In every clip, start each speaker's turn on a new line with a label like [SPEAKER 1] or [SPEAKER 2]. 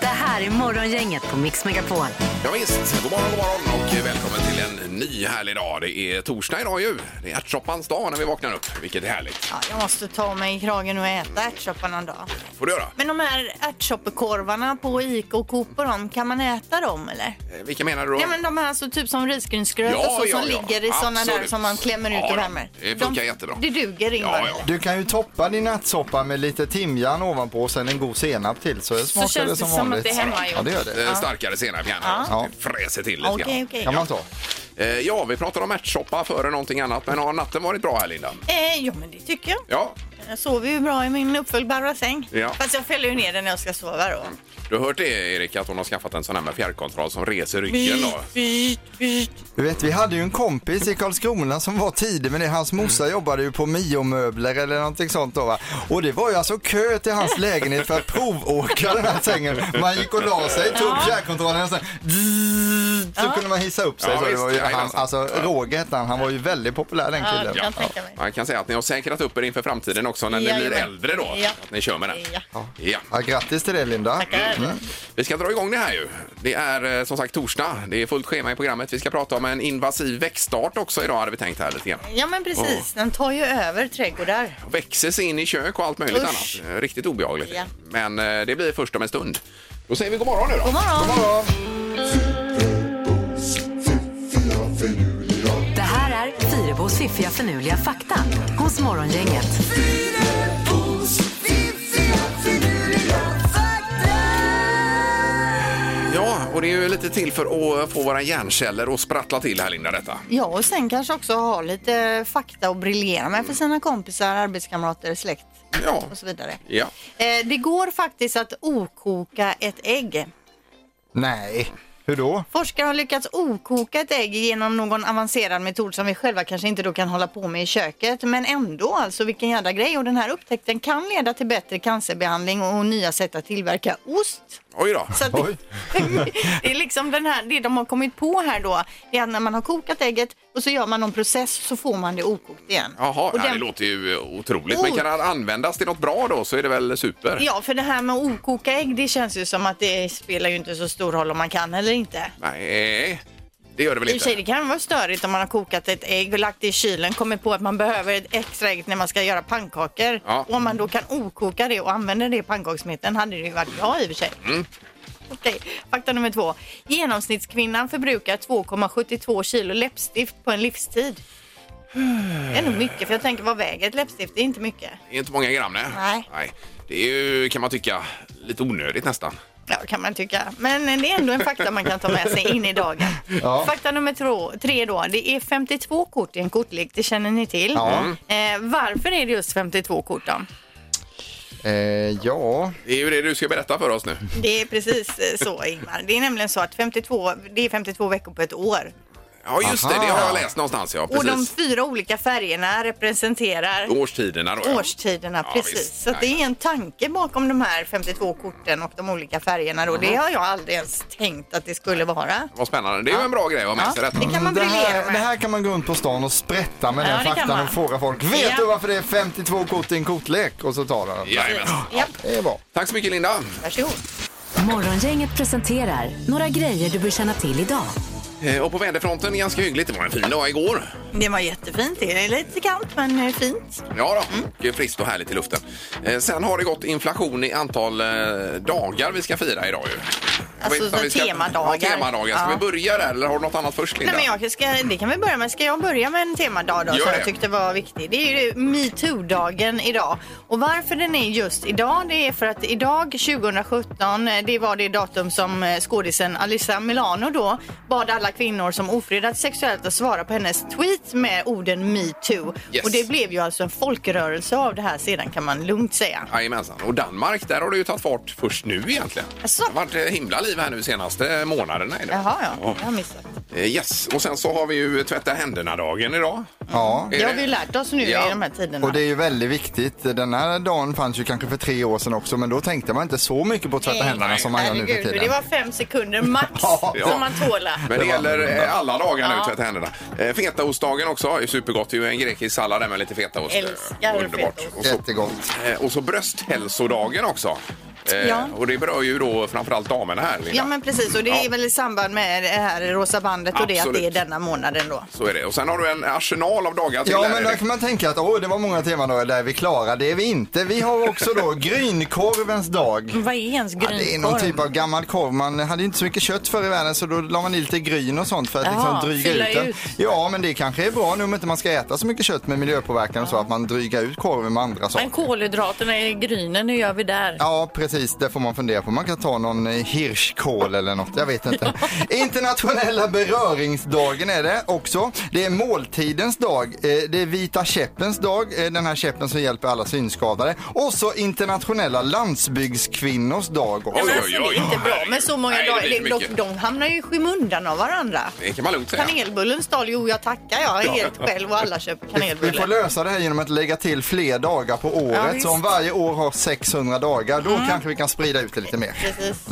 [SPEAKER 1] Det här är Morgongänget på Mix Megapol.
[SPEAKER 2] Ja, visst, god morgon, god morgon och välkommen till en ny härlig dag. Det är torsdag idag ju. Det är ärtsoppans dag när vi vaknar upp, vilket är härligt.
[SPEAKER 3] Ja, jag måste ta mig i kragen och äta ärtsoppa någon dag.
[SPEAKER 2] Får du göra.
[SPEAKER 3] Men de här ärtsoppekorvarna på Ica och Coop och dem, kan man äta dem eller?
[SPEAKER 2] Eh, Vilka menar du då?
[SPEAKER 3] Ja men de här så, typ som risgrynsgröt
[SPEAKER 2] Ja,
[SPEAKER 3] och så
[SPEAKER 2] ja,
[SPEAKER 3] som
[SPEAKER 2] ja.
[SPEAKER 3] ligger i sådana där
[SPEAKER 2] Absolut.
[SPEAKER 3] som man klämmer ut
[SPEAKER 2] Ja,
[SPEAKER 3] och
[SPEAKER 2] ja.
[SPEAKER 3] värmer.
[SPEAKER 2] Det funkar jättebra.
[SPEAKER 3] Det duger Ingvar.
[SPEAKER 2] Ja, ja.
[SPEAKER 4] Du kan ju toppa din nattsoppa med lite timjan ovanpå och sen en god senap till så smakar
[SPEAKER 3] känns
[SPEAKER 4] det
[SPEAKER 3] det
[SPEAKER 4] som
[SPEAKER 3] som att
[SPEAKER 4] vanligt.
[SPEAKER 3] det är hemmagjort.
[SPEAKER 4] Ja, det gör det.
[SPEAKER 2] Eh, Starkare senap gärna.
[SPEAKER 4] Ja.
[SPEAKER 2] Det Fräser till lite
[SPEAKER 3] Okej, okej.
[SPEAKER 4] Kan man ta.
[SPEAKER 2] grann. Eh, Ja, vi pratade om ärtsoppa före någonting annat, men har natten varit bra här, Linda?
[SPEAKER 3] Eh, ja men det tycker jag.
[SPEAKER 2] Ja,
[SPEAKER 3] Jag sover ju bra i min uppfällbara säng.
[SPEAKER 2] Ja.
[SPEAKER 3] Fast jag fäller ju ner den när jag ska sova då.
[SPEAKER 2] du har hört det, Erik, att hon har skaffat en sån här med fjärrkontroll som reser ryggen då.
[SPEAKER 4] Du vet, vi hade ju en kompis i Karlskrona som var tidig med det. Hans morsa jobbade ju på Mio-möbler eller någonting sånt då va? Och det var ju alltså kö till hans lägenhet för att provåka den här sängen. Man gick och la sig, tog upp fjärrkontrollen och sen så kunde man hissa upp sig.
[SPEAKER 2] Ja,
[SPEAKER 4] så det
[SPEAKER 2] visst,
[SPEAKER 4] var ju, han,
[SPEAKER 2] jajamensan.
[SPEAKER 4] alltså Roger hette han, han var ju väldigt populär den
[SPEAKER 3] Ja,
[SPEAKER 4] killen.
[SPEAKER 3] jag kan tänka mig.
[SPEAKER 2] Man kan säga att ni har säkrat upp er inför framtiden också när ni
[SPEAKER 3] Jajamän.
[SPEAKER 2] blir äldre då.
[SPEAKER 3] Ja.
[SPEAKER 2] Att ni kör med den.
[SPEAKER 3] Ja.
[SPEAKER 2] Ja.
[SPEAKER 4] Ja, grattis till det Linda. Mm.
[SPEAKER 2] Vi ska dra igång det här ju. Det är eh, som sagt torsdag. Det är fullt schema i programmet. Vi ska prata om en invasiv växtart också idag hade vi tänkt här lite grann.
[SPEAKER 3] Ja men precis, den tar ju över trädgårdar.
[SPEAKER 2] Växer sig in i kök och allt möjligt
[SPEAKER 3] Usch.
[SPEAKER 2] annat. Eh, Riktigt obehagligt.
[SPEAKER 3] Ja.
[SPEAKER 2] Men eh, det blir först om en stund. Då säger vi god morgon nu då.
[SPEAKER 3] God morgon!
[SPEAKER 1] Det här är Fyrebos fiffiga förnuliga fakta hos Morgongänget.
[SPEAKER 2] Ja, och det är ju lite till för att eh, få våra hjärnceller att sprattla till här Linda detta.
[SPEAKER 3] Ja, och sen kanske också ha lite fakta att briljera med för sina kompisar, arbetskamrater, släkt
[SPEAKER 2] Ja.
[SPEAKER 3] och så vidare.
[SPEAKER 2] Ja.
[SPEAKER 3] Eh, Det går faktiskt att okoka ett ägg.
[SPEAKER 4] Nej, hur då?
[SPEAKER 3] Forskare har lyckats okoka ett ägg genom någon avancerad metod som vi själva kanske inte då kan hålla på med i köket. Men ändå, alltså vilken jädra grej. Och den här upptäckten kan leda till bättre cancerbehandling och nya sätt att tillverka ost.
[SPEAKER 2] Oj då.
[SPEAKER 3] Så att
[SPEAKER 4] Oj.
[SPEAKER 3] det, det är liksom den här, det de har kommit på här då, det är att när man har kokat ägget och så gör man någon process så får man det okokt igen.
[SPEAKER 2] Jaha,
[SPEAKER 3] och
[SPEAKER 2] ja, det
[SPEAKER 3] den-
[SPEAKER 2] låter ju eh, otroligt.
[SPEAKER 3] Oh.
[SPEAKER 2] Men kan det användas till något bra då så är det väl super.
[SPEAKER 3] Ja, för det här med att okoka ägg, det känns ju som att det spelar ju inte så stor roll om man kan eller inte.
[SPEAKER 2] Nej, det gör det väl
[SPEAKER 3] I och för sig,
[SPEAKER 2] inte.
[SPEAKER 3] det kan vara störigt om man har kokat ett ägg och lagt det i kylen, kommit på att man behöver ett extra ägg när man ska göra pannkakor.
[SPEAKER 2] Ja.
[SPEAKER 3] Och om man då kan okoka det och använda det i pannkakssmeten hade det ju varit bra i och för sig. Okej, fakta nummer två. Genomsnittskvinnan förbrukar 2,72 kilo läppstift på en livstid. Det är nog mycket, för jag tänker vad väger ett läppstift? Det är inte mycket.
[SPEAKER 2] Det är inte många gram nej.
[SPEAKER 3] Nej.
[SPEAKER 2] Det är ju, kan man tycka, lite onödigt nästan.
[SPEAKER 3] Ja, kan man tycka. Men det är ändå en fakta man kan ta med sig in i dagen.
[SPEAKER 4] Ja.
[SPEAKER 3] Fakta nummer tro- tre då. Det är 52 kort i en kortlek, det känner ni till.
[SPEAKER 4] Ja.
[SPEAKER 3] Eh, varför är det just 52 kort då?
[SPEAKER 4] Eh, ja,
[SPEAKER 2] Det är ju det du ska berätta för oss nu.
[SPEAKER 3] Det är precis eh, så Ingmar. Det är nämligen så att 52, det är 52 veckor på ett år.
[SPEAKER 2] Ja, just det. Det har jag läst någonstans. Ja,
[SPEAKER 3] Och de
[SPEAKER 2] precis.
[SPEAKER 3] fyra olika färgerna representerar
[SPEAKER 2] Årstiderna då. ja.
[SPEAKER 3] årstiderna.
[SPEAKER 2] Ja,
[SPEAKER 3] precis.
[SPEAKER 2] visst.
[SPEAKER 3] Så att det
[SPEAKER 2] Ja,
[SPEAKER 3] är en tanke bakom de här 52 korten och de olika färgerna då. Det har jag aldrig ens tänkt att det skulle vara.
[SPEAKER 2] Vad spännande. Det är ju en bra grej att ha med
[SPEAKER 3] Ja,
[SPEAKER 2] sig detta.
[SPEAKER 3] det kan man
[SPEAKER 4] det
[SPEAKER 3] briljera
[SPEAKER 4] här,
[SPEAKER 3] med.
[SPEAKER 4] det här kan man gå runt på stan och sprätta med
[SPEAKER 3] Ja,
[SPEAKER 4] den
[SPEAKER 3] det kan
[SPEAKER 4] faktan
[SPEAKER 3] man.
[SPEAKER 4] och fråga folk. Vet
[SPEAKER 3] Ja.
[SPEAKER 4] du varför det är 52 kort i en kortlek? Och så tar de den.
[SPEAKER 2] Jajamän.
[SPEAKER 3] Japp,
[SPEAKER 4] Det är bra.
[SPEAKER 2] Tack så mycket Linda.
[SPEAKER 3] varsågod.
[SPEAKER 1] Morgongänget presenterar några grejer du bör känna till idag.
[SPEAKER 2] Eh, Och på väderfronten ganska hyggligt. Det var en fin dag igår.
[SPEAKER 3] Det var jättefint. Det är lite kallt men eh, fint.
[SPEAKER 2] Ja då,
[SPEAKER 3] Mm.
[SPEAKER 2] det är friskt och härligt i luften. Eh, Sen har det gått inflation i antal eh, dagar vi ska fira idag ju. Jag vet
[SPEAKER 3] Alltså,
[SPEAKER 2] inte om vi
[SPEAKER 3] så
[SPEAKER 2] ska-
[SPEAKER 3] temadagar.
[SPEAKER 2] Ja, temadagar. Ska
[SPEAKER 3] Ja.
[SPEAKER 2] vi börja där eller har du något annat först Linda?
[SPEAKER 3] Nej, men jag ska, det kan vi börja med. Ska jag börja med en temadag då
[SPEAKER 2] Gör
[SPEAKER 3] som
[SPEAKER 2] det.
[SPEAKER 3] jag tyckte var viktig? Det är ju metoo-dagen idag. Och varför den är just idag det är för att idag 2017 eh, det var det datum som eh, skådisen Alyssa Milano då bad alla kvinnor som ofredat sexuellt att svara på hennes tweet med orden metoo.
[SPEAKER 2] Yes.
[SPEAKER 3] Och det blev ju alltså en folkrörelse av det här sedan kan man lugnt säga.
[SPEAKER 2] Jajamensan. Och Danmark, där har det ju tagit fart först nu egentligen.
[SPEAKER 3] Jaså?
[SPEAKER 2] Det har varit eh, himla liv här nu senaste månaderna. är det.
[SPEAKER 3] Jaha, ja.
[SPEAKER 2] Ja.
[SPEAKER 3] Jag har missat.
[SPEAKER 2] Eh, Yes, och sen så har vi ju tvätta händerna-dagen idag.
[SPEAKER 4] Ja.
[SPEAKER 2] Är
[SPEAKER 3] Det har
[SPEAKER 2] det-
[SPEAKER 3] vi ju lärt oss nu
[SPEAKER 2] Ja.
[SPEAKER 3] i de här tiderna.
[SPEAKER 4] Och det är ju väldigt viktigt. Den här dagen fanns ju kanske för tre år sedan också men då tänkte man inte så mycket på att tvätta
[SPEAKER 3] Nej.
[SPEAKER 4] händerna som man gör nu för
[SPEAKER 3] Herregud, det
[SPEAKER 4] tiden.
[SPEAKER 3] var fem sekunder max
[SPEAKER 4] Ja.
[SPEAKER 3] som man tålar.
[SPEAKER 2] Men det, gäller eh, alla dagar nu, tvätta händerna. Eh, Fetaostdagen också, är supergott. Det är ju en grekisk sallad där med lite fetaost. Eh,
[SPEAKER 3] Älskar
[SPEAKER 2] Underbart.
[SPEAKER 3] fetaost.
[SPEAKER 2] Och så,
[SPEAKER 4] Jättegott.
[SPEAKER 2] eh, och så brösthälsodagen också. Eh,
[SPEAKER 3] Ja.
[SPEAKER 2] Och det berör ju då framförallt damerna här, Linda.
[SPEAKER 3] Ja men precis och det är
[SPEAKER 2] Ja.
[SPEAKER 3] väl i samband med det här rosa bandet och det att
[SPEAKER 2] Absolut.
[SPEAKER 3] det är denna månaden då.
[SPEAKER 2] Så är det. Och sen har du en arsenal av dagar till.
[SPEAKER 4] Ja,
[SPEAKER 2] där,
[SPEAKER 4] men där
[SPEAKER 2] Erik.
[SPEAKER 4] kan man tänka att åh, det var många teman då där vi klarar det är vi inte. Vi har också då grynkorvens dag.
[SPEAKER 3] Vad är ens
[SPEAKER 4] Ja, det är någon typ av gammal korv. Man hade inte så mycket kött förr i världen så då la man i lite gryn och sånt för att
[SPEAKER 3] Jaha,
[SPEAKER 4] liksom dryga
[SPEAKER 3] fylla
[SPEAKER 4] ut den.
[SPEAKER 3] ut.
[SPEAKER 4] Ja, men det kanske är bra nu om inte man ska äta så mycket kött med miljöpåverkan och så att man drygar ut korven med andra saker.
[SPEAKER 3] kolhydraterna i grynen, hur gör vi där?
[SPEAKER 4] Ja, precis. Det får man fundera på. Man kan ta någon eh, hirschkål eller något. Jag vet inte. Internationella beröringsdagen är det också. Det är måltidens dag. Eh, Det är vita käppens dag. eh, Den här käppen som hjälper alla synskadade. Och så internationella landsbygdskvinnors dag också.
[SPEAKER 2] Oj,
[SPEAKER 3] Men
[SPEAKER 2] oj,
[SPEAKER 3] alltså,
[SPEAKER 2] oj,
[SPEAKER 3] det är inte
[SPEAKER 2] oj,
[SPEAKER 3] bra
[SPEAKER 2] herregud.
[SPEAKER 3] med så många
[SPEAKER 2] Nej, det
[SPEAKER 3] dagar.
[SPEAKER 2] blir
[SPEAKER 3] Det-
[SPEAKER 2] för
[SPEAKER 3] De,
[SPEAKER 2] mycket.
[SPEAKER 3] de hamnar ju i skymundan av varandra.
[SPEAKER 2] Det kan man lugnt säga.
[SPEAKER 3] Kanelbullens dag, jo jag tackar jag helt själv och alla köper
[SPEAKER 4] Vi får
[SPEAKER 3] kanelbullar.
[SPEAKER 4] lösa det här genom att lägga till fler dagar på året.
[SPEAKER 3] visst. Mm.
[SPEAKER 4] så om varje år har 600 dagar, då kanske vi kan sprida ut det lite mer. Mm.
[SPEAKER 3] Precis.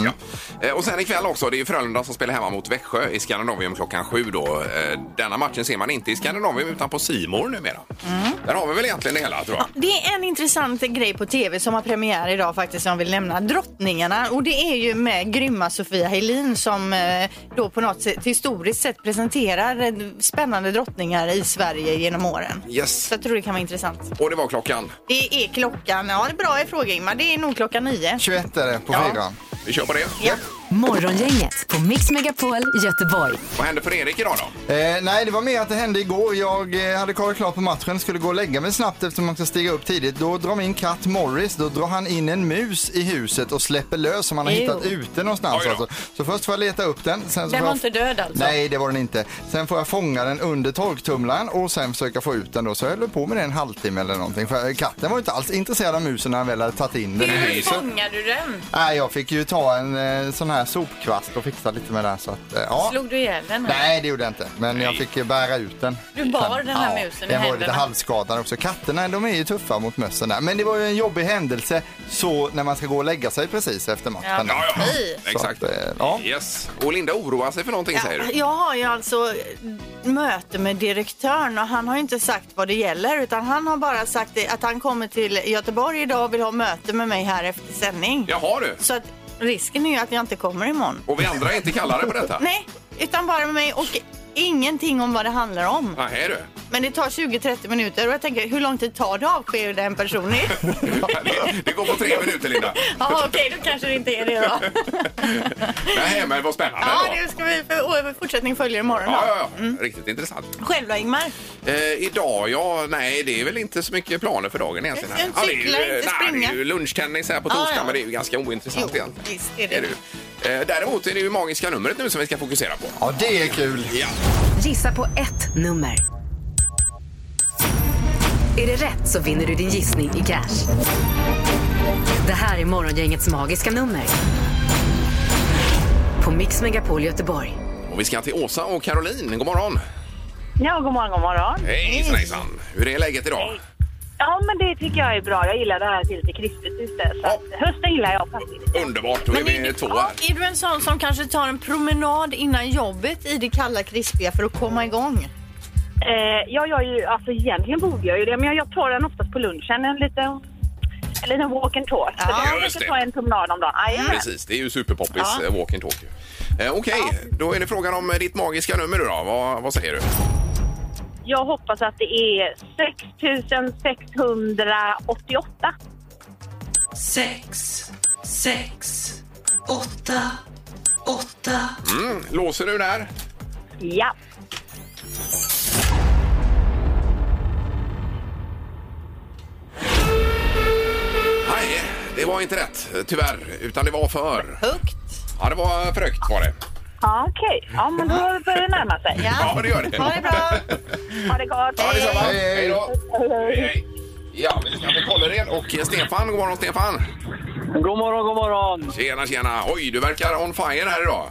[SPEAKER 2] Eh, Och sen ikväll också, det är ju Frölunda som spelar hemma mot Växjö i Skandinavium klockan sju då. Eh, Denna matchen ser man inte i Skandinavium utan på Simor numera.
[SPEAKER 3] Mm.
[SPEAKER 2] Där har vi väl egentligen det hela tror jag.
[SPEAKER 3] Det är en intressant grej på tv som har premiär idag faktiskt som jag vill nämna. Drottningarna och det är ju med grymma Sofia Helin som eh, då på något sätt historiskt sett presenterar eh, spännande drottningar i Sverige genom åren.
[SPEAKER 2] Yes.
[SPEAKER 3] Så jag tror det kan vara intressant.
[SPEAKER 2] Och det var klockan.
[SPEAKER 3] Det är klockan, ja det är bra i fråga Ingmar, det är nog klockan nio.
[SPEAKER 4] 21 är det på
[SPEAKER 3] Ja.
[SPEAKER 4] fyran.
[SPEAKER 2] Vi kör på det.
[SPEAKER 3] Ja.
[SPEAKER 1] Morgongänget på Mix Megapol Göteborg.
[SPEAKER 2] Vad händer för Erik idag då?
[SPEAKER 4] Eh, nej, det var mer att det hände igår. Jag eh, hade kollat klart på matchen, skulle gå och lägga mig snabbt eftersom man ska stiga upp tidigt. Då drar min katt Morris, då drar han in en mus i huset och släpper lös som han har
[SPEAKER 3] Ew.
[SPEAKER 4] hittat ute någonstans.
[SPEAKER 2] Oj då.
[SPEAKER 4] Alltså. Så först får jag leta upp den. Sen så
[SPEAKER 3] Den
[SPEAKER 4] får
[SPEAKER 3] var
[SPEAKER 4] jag...
[SPEAKER 3] inte död alltså?
[SPEAKER 4] Nej, det var den inte. Sen får jag fånga den under torktumlaren och sen försöka få ut den då. Så jag höll på med det en halvtimme eller någonting. För eh, katten var ju inte alls intresserad av musen när han väl hade tagit in den i huset.
[SPEAKER 3] fångar du den?
[SPEAKER 4] Nej, jag fick ju ta en eh, sån här sopkvast och fixa lite med den. Så att, eh, ja.
[SPEAKER 3] du ihjäl den?
[SPEAKER 4] Nej, det gjorde jag inte. Men jag fick ju bära ut den.
[SPEAKER 3] Du bar den här
[SPEAKER 4] ja,
[SPEAKER 3] musen i
[SPEAKER 4] Den var lite
[SPEAKER 3] händerna.
[SPEAKER 4] halvskadad också. Katterna de är ju tuffa mot mössen där. Men det var ju en jobbig händelse så när man ska gå och lägga sig precis efter matchen.
[SPEAKER 2] Ja, ja.
[SPEAKER 3] Hej.
[SPEAKER 4] Så
[SPEAKER 2] Exakt.
[SPEAKER 4] att, eh, ja.
[SPEAKER 2] Yes. Och Linda oroar sig för någonting säger du?
[SPEAKER 3] Jag har ju alltså möte med direktören och han har ju inte sagt vad det gäller utan han har bara sagt det- att han kommer till Göteborg idag och vill ha möte med mig här efter sändning.
[SPEAKER 2] Jaha du.
[SPEAKER 3] Så att risken är ju att jag inte kommer imorgon.
[SPEAKER 2] Och vi andra är inte kallade på detta?
[SPEAKER 3] Nej, utan bara med mig och ingenting om vad det handlar om.
[SPEAKER 2] Nej du.
[SPEAKER 3] Men det tar 20-30 minuter och jag tänker hur lång tid tar det att avskeda en person?
[SPEAKER 2] Det- Det går på tre minuter Linda.
[SPEAKER 3] Jaha okej, då kanske det inte är det då.
[SPEAKER 2] Nej men vad spännande.
[SPEAKER 3] Ja,
[SPEAKER 2] då.
[SPEAKER 3] det ska vi för, och fortsättning följer imorgon
[SPEAKER 2] ja,
[SPEAKER 3] då.
[SPEAKER 2] ja, ja. Riktigt intressant.
[SPEAKER 3] Själv då Ingmar?
[SPEAKER 2] Eh, idag, ja, nej det är väl inte så mycket planer för dagen egentligen.
[SPEAKER 3] Inte
[SPEAKER 2] det är ju,
[SPEAKER 3] cykla, inte
[SPEAKER 2] eh, nej, det
[SPEAKER 3] springa.
[SPEAKER 2] är ju lunchtennis här på
[SPEAKER 3] Ja,
[SPEAKER 2] torsdag,
[SPEAKER 3] ja.
[SPEAKER 2] men det är ju ganska ointressant
[SPEAKER 3] Jo,
[SPEAKER 2] egentligen.
[SPEAKER 3] visst är det.
[SPEAKER 2] Är det ju. Eh, däremot är det ju magiska numret nu som vi ska fokusera på.
[SPEAKER 4] ja, det är kul.
[SPEAKER 2] Ja.
[SPEAKER 1] Gissa på ett nummer. Är det rätt så vinner du din gissning i cash. Det här är Morgongängets magiska nummer. På Mix Megapol Göteborg.
[SPEAKER 2] Och vi ska till Åsa och Caroline. God morgon!
[SPEAKER 5] Ja, god morgon, god morgon.
[SPEAKER 2] Hejsan hejsan! Hur är läget idag?
[SPEAKER 5] Ja, men det tycker jag är bra. Jag gillar det här att det är lite kristet ute. Så att hösten gillar jag faktiskt.
[SPEAKER 2] Underbart, då är vi två
[SPEAKER 3] ja,
[SPEAKER 2] här.
[SPEAKER 3] är du en sån som kanske tar en promenad innan jobbet i det kalla krispiga för att komma igång?
[SPEAKER 5] Eh, ja, jag är ju, alltså egentligen borde jag ju det, men jag- jag tar den oftast på lunchen. En liten, en liten walk and talk. Så
[SPEAKER 3] Ja,
[SPEAKER 5] jag
[SPEAKER 2] just det.
[SPEAKER 5] brukar ta en promenad om dagen. Aj,
[SPEAKER 2] Precis, det är ju superpoppis ja. walk and talk. ju. Eh, Okej, då är det frågan om eh, ditt magiska nummer nu då. Vad, vad säger du?
[SPEAKER 5] Jag hoppas att det är 6688.
[SPEAKER 6] sex, sex, åtta, åtta.
[SPEAKER 2] Mm, låser du där?
[SPEAKER 5] Ja.
[SPEAKER 2] Nej, det var inte rätt tyvärr, utan det var för.
[SPEAKER 3] Högt.
[SPEAKER 2] Ja, det var för högt var det.
[SPEAKER 5] Ja, okej. Ja, men då börjar det närma sig.
[SPEAKER 2] Ja, det gör det.
[SPEAKER 3] Ha det bra.
[SPEAKER 5] Ha det gott!
[SPEAKER 2] Ja, detsamma.
[SPEAKER 4] Hej, hej.
[SPEAKER 2] Hej då. Hej, hej. Ja, vi ska till Kållered och Stefan. God morgon, Stefan.
[SPEAKER 7] God morgon, god morgon.
[SPEAKER 2] Tjena, tjena. Oj, du verkar on fire här idag.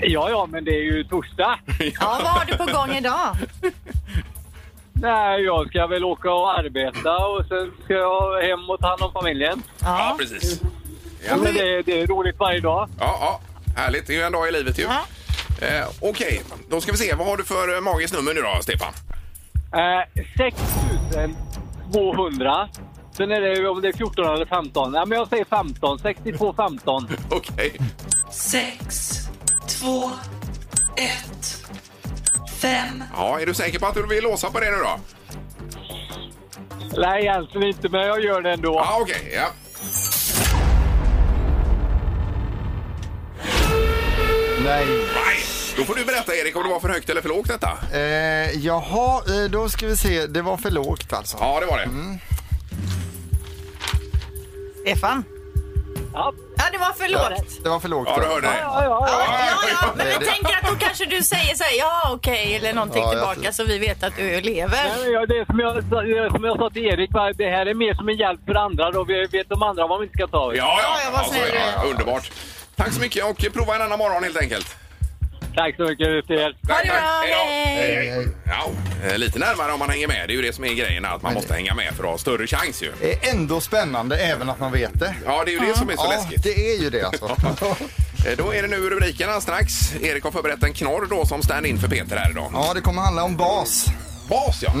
[SPEAKER 7] Ja, ja, men det är ju torsdag.
[SPEAKER 3] Ja, vad har du på gång idag?
[SPEAKER 7] Nej, jag ska väl åka och arbeta och sen ska jag hem och ta hand om familjen.
[SPEAKER 2] Ja, precis.
[SPEAKER 7] Ja, men det, det är roligt varje dag.
[SPEAKER 2] Ja, ja. Härligt. Det är ju en dag i livet ju.
[SPEAKER 3] Ja.
[SPEAKER 2] Eh, Okej, då ska vi se. Vad har du för eh, magiskt nummer nu då, Stefan?
[SPEAKER 7] Eh, 6200. Sen är det ju om det är 14 eller 15. Ja, men jag säger 15. 62 15.
[SPEAKER 2] Okej.
[SPEAKER 6] sex, två, ett, fem,
[SPEAKER 2] Ja, är du säker på att du vill låsa på det nu då?
[SPEAKER 7] Nej, egentligen inte, men jag gör det ändå.
[SPEAKER 2] Ja, okej. ja.
[SPEAKER 4] Nej.
[SPEAKER 2] Nej, då får du berätta Erik om det var för högt eller för lågt detta.
[SPEAKER 4] Eh, jaha, eh, då ska vi se. Det var för lågt alltså.
[SPEAKER 2] Ja, det var det.
[SPEAKER 3] Mm. Stefan?
[SPEAKER 7] Ja.
[SPEAKER 3] Ja, det var förlåt.
[SPEAKER 4] Det var för lågt.
[SPEAKER 2] Ja, du hörde det.
[SPEAKER 7] Ja, ja, ja.
[SPEAKER 3] Ja, ja, men jag
[SPEAKER 4] Det-
[SPEAKER 3] tänker att då kanske du säger så här, ja okej, eller någonting
[SPEAKER 4] Ja, jag
[SPEAKER 3] tillbaka
[SPEAKER 4] tror-
[SPEAKER 3] så vi vet att du
[SPEAKER 7] Nej,
[SPEAKER 3] lever.
[SPEAKER 7] men jag- Det är som jag, sa- det är som jag sa till Erik, va, det här är mer som en hjälp för andra. Då vi vet de andra vad man inte ska ta.
[SPEAKER 2] Ja, ja.
[SPEAKER 3] Ja, jag var snäll.
[SPEAKER 2] ja, ja, Underbart. Tack så mycket och prova en annan morgon helt enkelt.
[SPEAKER 7] Tack så mycket till er.
[SPEAKER 2] Tack,
[SPEAKER 3] det
[SPEAKER 2] tack.
[SPEAKER 3] bra,
[SPEAKER 2] då.
[SPEAKER 3] hej.
[SPEAKER 2] hej. Ja, eh, lite närmare om man hänger med. Det är ju det som är grejen, att man måste hänga med för att ha större chans ju.
[SPEAKER 4] Är ändå spännande även att man vet det.
[SPEAKER 2] Ja, det är ju det som är så läskigt.
[SPEAKER 4] det är ju det alltså.
[SPEAKER 2] Eh, Då är det nu rubrikerna strax. Erik har förberett en knorr då som stand-in för Peter här idag.
[SPEAKER 4] ja, det kommer handla om bas.
[SPEAKER 2] Bas ja.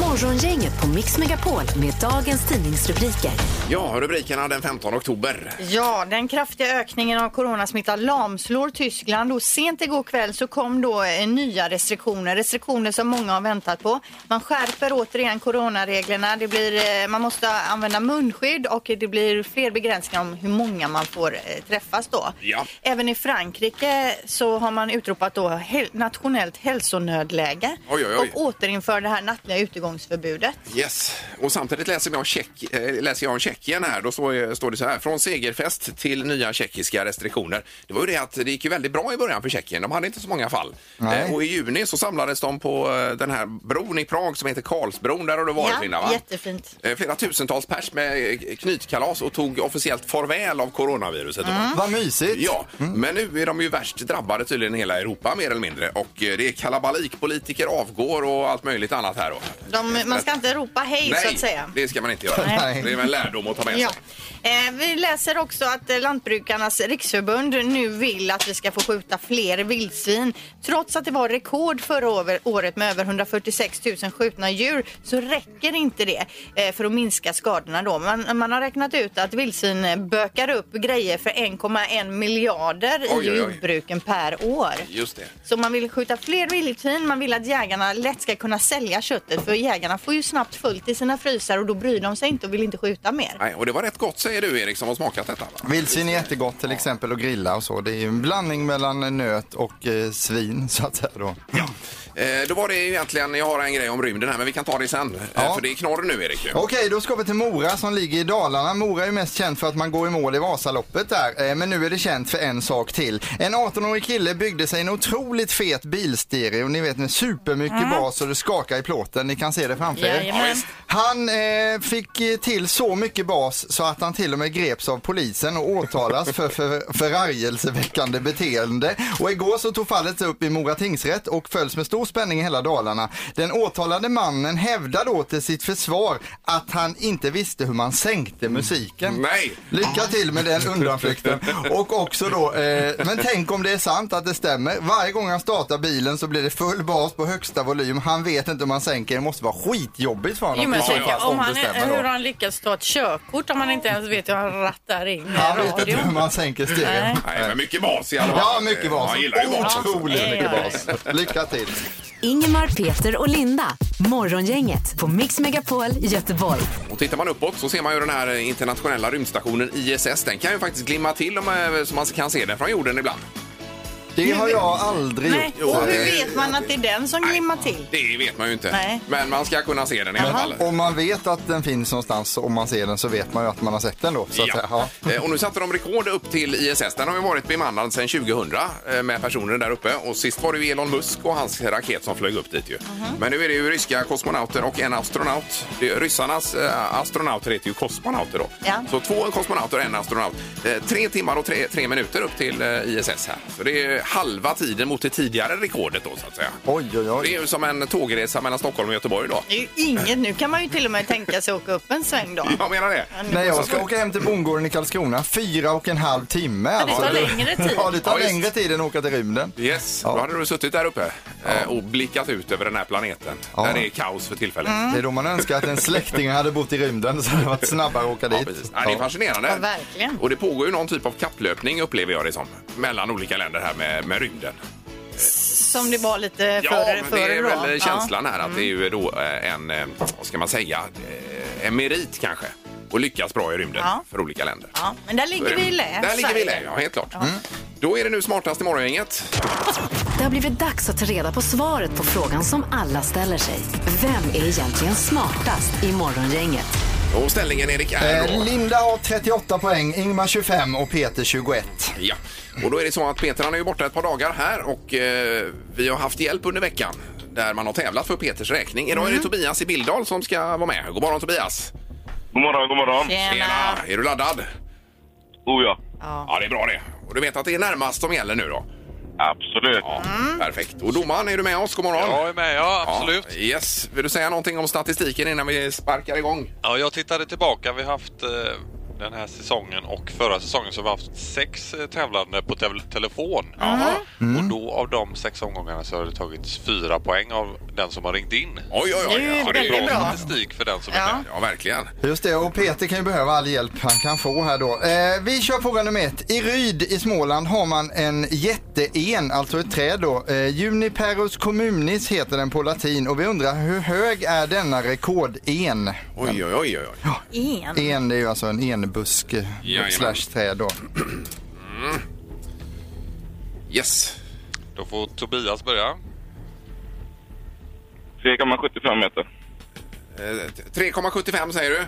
[SPEAKER 1] Morgongänget på Mix Megapol med dagens tidningsrubriker.
[SPEAKER 2] Ja, rubrikerna den 15 oktober.
[SPEAKER 3] Ja, den kraftiga ökningen av coronasmitta lamslår Tyskland och sent igår kväll så kom då eh, nya restriktioner, restriktioner som många har väntat på. Man skärper återigen coronareglerna, det blir, eh, man måste använda munskydd och det blir fler begränsningar om hur många man får eh, träffas då.
[SPEAKER 2] Ja.
[SPEAKER 3] Även i Frankrike så har man utropat då hel- nationellt hälsonödläge
[SPEAKER 2] Oj, oj, oj.
[SPEAKER 3] och återinför det här nattliga utegångsförbudet.
[SPEAKER 2] Yes, och samtidigt läser jag, check, eh, läser jag om Tjeckien här. Då står, eh, står det så här, från segerfest till nya tjeckiska restriktioner. Det var ju det att det gick ju väldigt bra i början för Tjeckien. De hade inte så många fall.
[SPEAKER 4] Nej.
[SPEAKER 2] Eh, och i juni så samlades de på eh, den här bron i Prag som heter Karlsbron. Där har du varit Linda va?
[SPEAKER 3] jättefint.
[SPEAKER 2] Eh, Flera tusentals pers med eh, knytkalas och tog officiellt farväl av coronaviruset. då.
[SPEAKER 4] Vad mysigt.
[SPEAKER 2] Ja, men nu är de ju värst drabbade tydligen i hela Europa mer eller mindre och eh, det är kalabalik, politiker avgår och allt möjligt annat här då.
[SPEAKER 3] De, man ska inte ropa hej så att säga.
[SPEAKER 2] det ska man inte göra.
[SPEAKER 4] Nej.
[SPEAKER 2] Det är väl en lärdom att ta med sig.
[SPEAKER 3] Ja. Eh, vi läser också att eh, Lantbrukarnas riksförbund nu vill att vi ska få skjuta fler vildsvin. Trots att det var rekord förra åver- året med över 146 000 skjutna djur så räcker inte det eh, för att minska skadorna. Då. Man, man har räknat ut att vildsvin eh, bökar upp grejer för 1,1 miljarder
[SPEAKER 2] Oj, oj, oj.
[SPEAKER 3] i jordbruken per år.
[SPEAKER 2] Just det.
[SPEAKER 3] Så man vill skjuta fler vildsvin, man vill att jägarna lätt ska kunna sälja köttet för jägarna får ju snabbt fullt i sina frysar och då bryr de sig inte och vill inte skjuta mer.
[SPEAKER 2] Nej, och det var rätt gott säger du Erik som har smakat detta. Va?
[SPEAKER 4] Vildsvin är jättegott till exempel att grilla och så. Det är ju en blandning mellan nöt och eh, svin så att säga då.
[SPEAKER 2] Eh, då var det ju egentligen, jag har en grej om rymden här men vi kan ta det sen. Eh,
[SPEAKER 4] Ja.
[SPEAKER 2] För det är knorr nu Erik. ju.
[SPEAKER 4] Okej, då ska vi till Mora som ligger i Dalarna. Mora är ju mest känd för att man går i mål i Vasaloppet där. Eh, Men nu är det känt för en sak till. En 18-årig kille byggde sig en otroligt fet bilstereo, ni vet med supermycket bas och det skakar i plåten. Ni kan se det framför er.
[SPEAKER 3] Jajamän.
[SPEAKER 4] Han eh, fick eh, till så mycket bas så att han till och med greps av polisen och åtalas för, för förargelseväckande beteende. Och igår så tog fallet upp i Mora tingsrätt och följs med stor spänning i hela Dalarna. Den åtalade mannen hävdar då till sitt försvar att han inte visste hur man sänkte musiken.
[SPEAKER 2] Nej.
[SPEAKER 4] Lycka till med den undanflykten. Och också då, eh, men tänk om det är sant att det stämmer. Varje gång han startar bilen så blir det full bas på högsta volym. Han vet inte hur man sänker. Det måste vara skitjobbigt för honom.
[SPEAKER 8] Jo, men
[SPEAKER 4] att
[SPEAKER 8] tänk
[SPEAKER 4] fatta
[SPEAKER 8] jag, om
[SPEAKER 4] det
[SPEAKER 8] han,
[SPEAKER 4] stämmer då.
[SPEAKER 8] hur har han lyckats ta ett körkort om han inte ens vet hur han rattar in
[SPEAKER 4] Han
[SPEAKER 8] med
[SPEAKER 4] vet inte hur
[SPEAKER 8] radion?
[SPEAKER 4] man sänker
[SPEAKER 8] Nej.
[SPEAKER 4] stereon.
[SPEAKER 2] Nej, men mycket bas i alla fall.
[SPEAKER 4] Ja, mycket
[SPEAKER 2] Eh,
[SPEAKER 4] bas.
[SPEAKER 2] Han gillar ju bas. också. Eh,
[SPEAKER 4] Otroligt
[SPEAKER 8] Ja,
[SPEAKER 4] mycket
[SPEAKER 8] ja,
[SPEAKER 4] bas. Lycka till.
[SPEAKER 1] Ingemar, Peter och Linda. Morgongänget på Mix Megapol Göteborg.
[SPEAKER 2] Och tittar man uppåt så ser man ju den här internationella rymdstationen ISS. Den kan ju faktiskt glimma till om, eh, så man kan se den från jorden ibland.
[SPEAKER 4] Det har jag aldrig
[SPEAKER 3] Nej.
[SPEAKER 4] gjort.
[SPEAKER 3] Och hur
[SPEAKER 2] det-
[SPEAKER 3] vet man att det är den som glimmar till?
[SPEAKER 2] Det vet man ju inte.
[SPEAKER 3] Nej.
[SPEAKER 2] Men man ska kunna se den i alla fall.
[SPEAKER 4] Om man vet att den finns någonstans och om man ser den så vet man ju att man har sett den då. Så att säga. Ja.
[SPEAKER 2] Eh, Och nu satte de rekord upp till ISS. Den har ju varit bemannad sedan 2000 eh, med personer där uppe. Och sist var det ju Elon Musk och hans raket som flög upp dit ju. Men nu är det ju ryska kosmonauter och en astronaut. Det, ryssarnas eh, astronauter heter ju kosmonauter då.
[SPEAKER 3] Ja.
[SPEAKER 2] Så två kosmonauter och en astronaut. Eh, Tre timmar och tre, tre minuter upp till eh, ISS här. Så det är halva tiden mot det tidigare rekordet då så att säga.
[SPEAKER 4] Oj, oj,
[SPEAKER 2] Det är ju som en tågresa mellan Stockholm och Göteborg då.
[SPEAKER 3] Det är ju inget. Nu kan man ju till och med tänka sig åka upp en sväng då.
[SPEAKER 2] Jag menar det.
[SPEAKER 3] Ja, nu-
[SPEAKER 4] När jag ska åka hem till bondgården i Karlskrona, fyra och en halv timme. alltså.
[SPEAKER 3] det tar längre tid.
[SPEAKER 4] Ja, det tar
[SPEAKER 2] Ja, visst.
[SPEAKER 4] längre tid än att åka till rymden.
[SPEAKER 2] Yes,
[SPEAKER 4] Ja.
[SPEAKER 2] då hade du suttit där uppe eh, och blickat ut över den här planeten
[SPEAKER 4] Ja. Mm.
[SPEAKER 2] där det är kaos för tillfället.
[SPEAKER 4] Det är då man önskar att en släkting hade bott i rymden så det hade varit snabbare att åka
[SPEAKER 2] Ja,
[SPEAKER 4] dit.
[SPEAKER 2] precis. Ja, det är fascinerande.
[SPEAKER 3] Ja, verkligen.
[SPEAKER 2] Och det pågår ju någon typ av kapplöpning upplever jag det som. Mellan olika länder här med, med rymden.
[SPEAKER 3] Som det var lite
[SPEAKER 2] Ja,
[SPEAKER 3] före
[SPEAKER 2] men det
[SPEAKER 3] före
[SPEAKER 2] är
[SPEAKER 3] då.
[SPEAKER 2] väl
[SPEAKER 3] Ja. Mm.
[SPEAKER 2] känslan här att det är ju då eh, en, eh, vad ska man säga, Eh, en merit kanske. Och lyckas bra i rymden
[SPEAKER 3] Ja.
[SPEAKER 2] för olika länder.
[SPEAKER 3] Ja, men där ligger vi i lä.
[SPEAKER 2] Där ligger vi i lä,
[SPEAKER 3] Sverige.
[SPEAKER 2] ja helt klart.
[SPEAKER 4] Mm.
[SPEAKER 2] Då är det nu smartast i morgongänget.
[SPEAKER 1] Det har blivit dags att ta reda på svaret på frågan som alla ställer sig. Vem är egentligen smartast i Morgongänget?
[SPEAKER 2] Och ställningen Erik är
[SPEAKER 4] Eh,
[SPEAKER 2] då...
[SPEAKER 4] Linda har 38 poäng, Ingmar 25 och Peter 21.
[SPEAKER 2] Ja, och då är det så att Peter han är ju borta ett par dagar här och eh, vi har haft hjälp under veckan där man har tävlat för Peters räkning. Idag är det Tobias i Bildal som ska vara med. God morgon Tobias!
[SPEAKER 9] God morgon, god morgon.
[SPEAKER 3] Tjena.
[SPEAKER 2] Är du laddad?
[SPEAKER 9] Oh ja.
[SPEAKER 2] Ja, det är bra det. Och du vet att det är närmast som gäller nu då?
[SPEAKER 9] Absolut.
[SPEAKER 2] Ja, Perfekt. Och domaren, är du med oss? God morgon!
[SPEAKER 10] Jag är med, ja absolut.
[SPEAKER 2] Ja, yes. Vill du säga någonting om statistiken innan vi sparkar igång?
[SPEAKER 10] Ja, jag tittade tillbaka. Vi har haft eh, den här säsongen och förra säsongen så har vi haft sex eh, tävlande på tev- telefon. Och då av de sex omgångarna så har det tagits fyra poäng av den som har ringt in.
[SPEAKER 2] Oj, oj, oj.
[SPEAKER 10] Så det är bra, statistik för den som är med.
[SPEAKER 2] Ja, verkligen.
[SPEAKER 4] Just det, och Peter kan ju behöva all hjälp han kan få här då. Eh, vi kör fråga nummer ett. I Ryd i Småland har man en jätteén, alltså ett träd då. Eh, Juniperus communis heter den på latin och vi undrar hur hög är denna rekorden?
[SPEAKER 2] Oj, oj, oj, oj.
[SPEAKER 3] En.
[SPEAKER 4] En, det är ju alltså en enbusk eh,
[SPEAKER 2] Jajamän.
[SPEAKER 4] slash träd då.
[SPEAKER 2] Yes.
[SPEAKER 10] Då får Tobias börja.
[SPEAKER 9] 3,75 meter.
[SPEAKER 2] Eh, 3,75 säger du?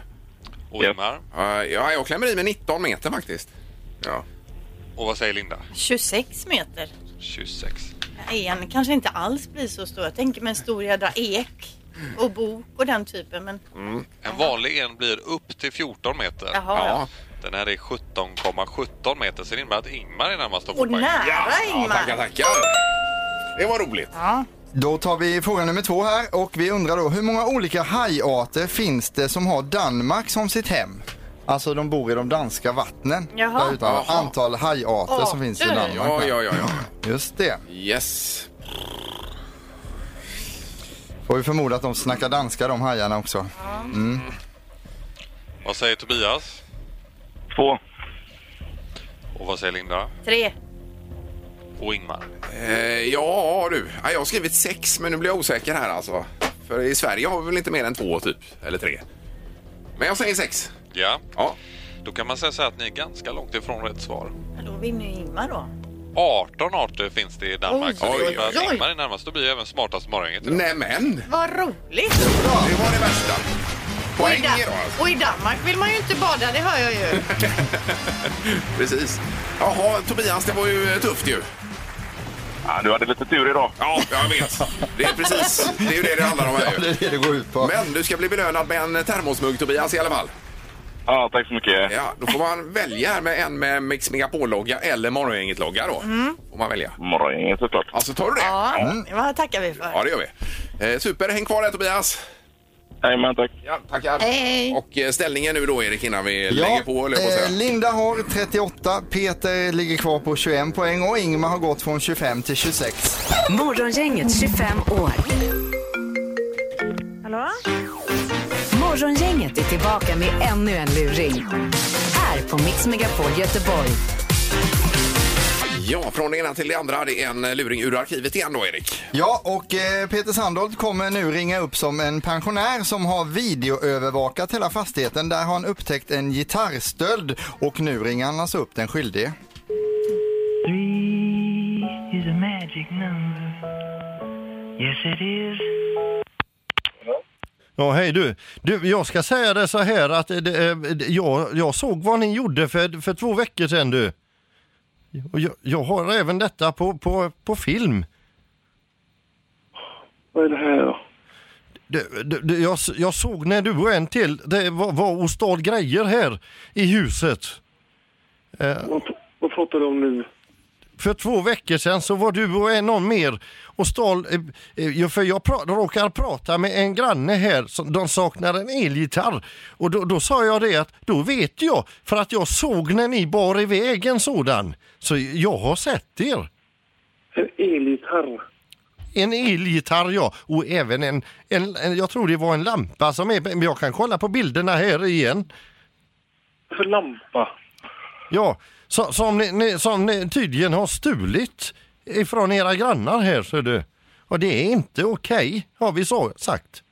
[SPEAKER 10] Och Ingmar?
[SPEAKER 2] Ja, jag klämmer i med 19 meter faktiskt. Ja.
[SPEAKER 10] Och vad säger Linda?
[SPEAKER 3] 26 meter.
[SPEAKER 10] 26.
[SPEAKER 3] En kanske inte alls blir så stor. Jag tänker mig en stor jädra ek och bok och den typen. Men
[SPEAKER 10] En vanlig en blir upp till 14 meter.
[SPEAKER 3] Jaha, ja. Ja.
[SPEAKER 10] Den här är 17,17 meter så det innebär att Ingmar är närmast att få
[SPEAKER 3] Och
[SPEAKER 10] poäng.
[SPEAKER 3] nära Ingmar.
[SPEAKER 2] tackar, tackar. Det var roligt.
[SPEAKER 3] ja.
[SPEAKER 4] Då tar vi fråga nummer två här och vi undrar då hur många olika hajarter finns det som har Danmark som sitt hem? Alltså de bor i de danska vattnen.
[SPEAKER 2] Jaha.
[SPEAKER 4] Där utan
[SPEAKER 2] Jaha.
[SPEAKER 4] antal hajarter som
[SPEAKER 2] Arter.
[SPEAKER 4] finns i Danmark.
[SPEAKER 2] Ja, ja, ja, ja.
[SPEAKER 4] Just det.
[SPEAKER 2] Yes.
[SPEAKER 4] Får vi förmoda att de snackar danska de hajarna också. Mm.
[SPEAKER 10] Vad säger Tobias?
[SPEAKER 9] Två.
[SPEAKER 10] Och vad säger Linda?
[SPEAKER 3] Tre.
[SPEAKER 10] Och Ingmar?
[SPEAKER 2] Eh, ja, du. Ja, Jag har skrivit sex, men nu blir jag osäker här alltså. För i Sverige har vi väl inte mer än två, typ. Eller tre. Men jag säger sex.
[SPEAKER 10] Ja.
[SPEAKER 2] ja.
[SPEAKER 10] Då kan man säga så här att ni är ganska långt ifrån rätt svar.
[SPEAKER 3] Ja, Då vinner ju Ingmar då.
[SPEAKER 10] 18 arter finns det i Danmark.
[SPEAKER 3] Oj,
[SPEAKER 10] så det
[SPEAKER 3] oj,
[SPEAKER 10] innebär
[SPEAKER 3] oj.
[SPEAKER 10] att Ingmar är närmast. Då blir jag även smartast i morgongänget. idag.
[SPEAKER 2] Nämen!
[SPEAKER 3] Vad roligt!
[SPEAKER 2] Det var det värsta.
[SPEAKER 3] Och i,
[SPEAKER 2] Poäng
[SPEAKER 3] Dan-
[SPEAKER 2] då alltså.
[SPEAKER 3] och i Danmark vill man ju inte bada, det hör jag ju.
[SPEAKER 2] Precis. Jaha, Tobias, det var ju eh, tufft ju.
[SPEAKER 9] Ja, du hade lite tur idag.
[SPEAKER 2] Ja, jag vet. Det är precis. Det är ju det det handlar om här ju.
[SPEAKER 4] Det är det det går ut på.
[SPEAKER 2] Men du ska bli belönad med en termosmugg Tobias i alla fall.
[SPEAKER 9] Ja, tack så mycket.
[SPEAKER 2] Ja, då får man välja här med en med Mix Megapol-logga eller Morgongänget-logga då. Får man välja.
[SPEAKER 9] Morgongänget såklart.
[SPEAKER 2] Alltså tar du det?
[SPEAKER 3] Ja, det var- tackar vi för.
[SPEAKER 2] Ja, det gör vi. Eh, super, häng kvar där Tobias.
[SPEAKER 9] Jajamän, tack.
[SPEAKER 2] Ja, tackar.
[SPEAKER 3] hej.
[SPEAKER 2] Och eh, ställningen nu då Erik innan vi
[SPEAKER 4] Ja,
[SPEAKER 2] lägger på, höll jag på att
[SPEAKER 4] eh,
[SPEAKER 2] säga.
[SPEAKER 4] Linda har 38, Peter ligger kvar på 21 poäng och Ingmar har gått från 25 till 26.
[SPEAKER 1] Morgongänget 25 år.
[SPEAKER 5] Hallå?
[SPEAKER 1] Morgongänget är tillbaka med ännu en luring. Här på Mix Megapol Göteborg.
[SPEAKER 2] Ja, från det ena till det andra. Det är en eh, luring ur arkivet igen då Erik.
[SPEAKER 4] Ja, och eh, Peter Sandholt kommer nu ringa upp som en pensionär som har videoövervakat hela fastigheten. Där har han upptäckt en gitarrstöld och nu ringer han alltså upp den skyldige.
[SPEAKER 6] Three is a magic number. Yes, it is.
[SPEAKER 11] Ja, hej du. du. Jag ska säga det så här att eh, det, eh, det- jag, jag såg vad ni gjorde för, för två veckor sedan du. Och jag, jag har även detta på, på, på film.
[SPEAKER 9] Vad är det här då?
[SPEAKER 11] Det, det, det, jag, s- jag såg när du och en till, det var, var och stal grejer här i huset. Eh,
[SPEAKER 9] Vad pratar du om nu?
[SPEAKER 4] För två veckor sedan så var du och en- någon mer och stal, eh, eh, för jag pra, råkar prata med en granne här, som, de saknar en elgitarr. Och då, då sa jag det att, då vet jag, för att jag såg när ni bar iväg en sådan. Så jag har sett er.
[SPEAKER 10] En elgitarr.
[SPEAKER 4] En elgitarr ja, och även en, en, en, jag tror det var en lampa som är, men jag kan kolla på bilderna här igen.
[SPEAKER 10] För lampa?
[SPEAKER 4] Ja, så, som, ni, ni, som ni tydligen har stulit ifrån era grannar här ser du. Och det är inte okej, har vi så, sagt.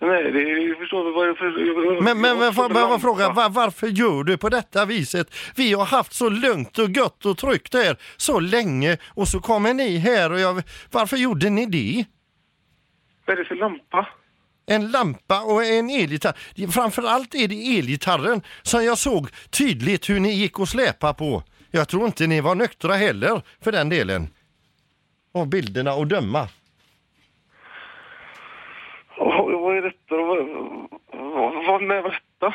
[SPEAKER 10] Nej, det är, jag förstår inte vad det är för...
[SPEAKER 4] Men, men, men får
[SPEAKER 10] för
[SPEAKER 4] jag bara
[SPEAKER 10] lampa?
[SPEAKER 4] fråga, var, varför gör du på detta viset? Vi har haft så lugnt och gött och tryggt här så länge och så kommer ni här och jag, varför gjorde ni det?
[SPEAKER 10] Vad är det för lampa?
[SPEAKER 4] En lampa och en elgitarr. Det- Framförallt är det elgitarren som jag såg tydligt hur ni gick och släpa på. Jag tror inte ni var nyktra heller för den delen. Av bilderna och döma.
[SPEAKER 10] Vad vad är detta? Vad, vad, vad, när var detta?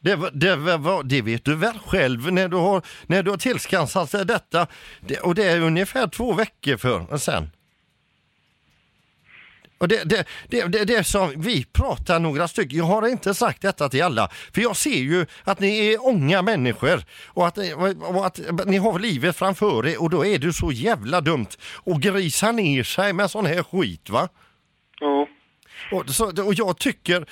[SPEAKER 4] Det, var- det, var- det vet du väl själv när du har, när du har tillskansat dig detta. Det, och det är ungefär två veckor för, sen. Och det, det, det, det, det som vi pratar några stycken, jag har inte sagt detta till alla, för jag ser ju att ni är unga människor och att, och att ni har livet framför er och då är det så jävla dumt att grisa ner sig med sån här skit va?
[SPEAKER 10] Ja.
[SPEAKER 4] Och, så, och jag tycker,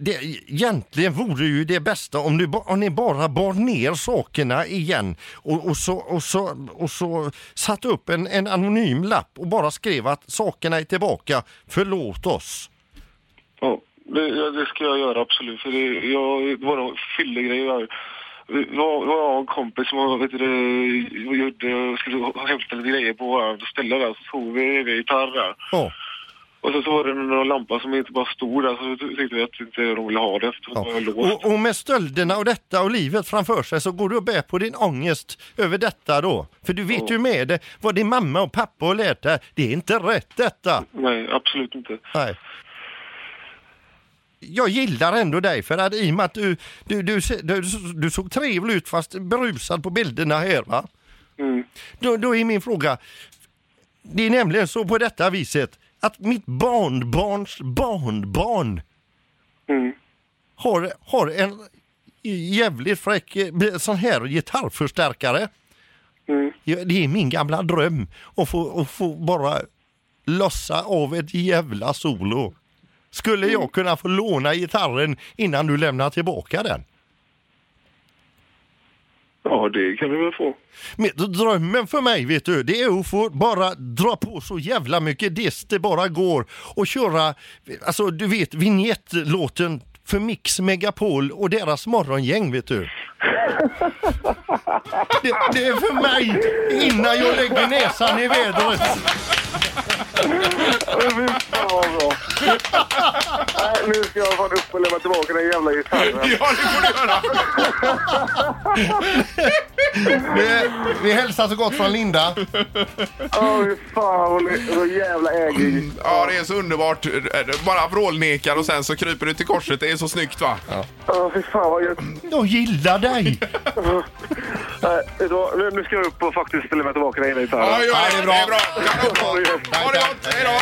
[SPEAKER 4] det, egentligen vore ju det bästa om, du, ba- om ni bara bar ner sakerna igen och, och, så, och, så, och så satt upp en, en anonym lapp och bara skrev att sakerna är tillbaka, förlåt oss.
[SPEAKER 10] Ja, det, ja, det ska jag göra absolut. För det, jag, våra fyllegrejer. Jag, jag har en kompis som vet du, det, gjorde, skulle hämta lite grejer på våra ställe där. Så tog vi en gitarr där.
[SPEAKER 4] Ja.
[SPEAKER 10] Och sen så var det någon lampa som inte bara stod där. Så tyckte vi att inte de ville ha det. Så det var låst.
[SPEAKER 4] Och, och med stölderna och detta och livet framför sig så går du och bär på din ångest över detta då. För du vet ju med det vad din mamma och pappa har lärt dig, det är inte rätt detta.
[SPEAKER 10] Nej, absolut inte.
[SPEAKER 4] Nej. Jag gillar ändå dig för att i och med att du, du, du, se- du, du såg trevlig ut fast berusad på bilderna här va?
[SPEAKER 10] Mm.
[SPEAKER 4] Då, då är min fråga, det är nämligen så på detta viset att mitt barnbarns barnbarn har, har en jävligt fräck eh, sån här gitarrförstärkare. Ja, det är min gamla dröm att få, att få bara lossa av ett jävla solo. Skulle jag kunna få låna gitarren innan du lämnar tillbaka den?
[SPEAKER 10] Ja, det kan vi väl få.
[SPEAKER 4] Men drömmen för mig vet du, det är att få bara dra på så jävla mycket diss det bara går och köra, alltså du vet vignettlåten för Mix Megapol och deras morgongäng vet du. Det, det är för mig innan jag lägger näsan i vädret.
[SPEAKER 10] Fan vad bra. Nej, nu ska jag fan upp och lämna tillbaka den jävla gitarren.
[SPEAKER 2] Ja, det får du göra.
[SPEAKER 4] Vi, vi hälsar så gott från Linda.
[SPEAKER 10] Åh, fy fan vad ni- vad jävla ägig.
[SPEAKER 2] Ja, det är så underbart. Eh, Bara vrålnekar och sen så kryper du till korset. Det är så snyggt va?
[SPEAKER 10] Åh, fy fan vad gött.
[SPEAKER 4] Jag gillar dig.
[SPEAKER 10] Nej, vet du vad? Eh, Nu- Nu ska jag upp och faktiskt lämna tillbaka den jävla gitarren.
[SPEAKER 2] Ja, gör det. Det är bra.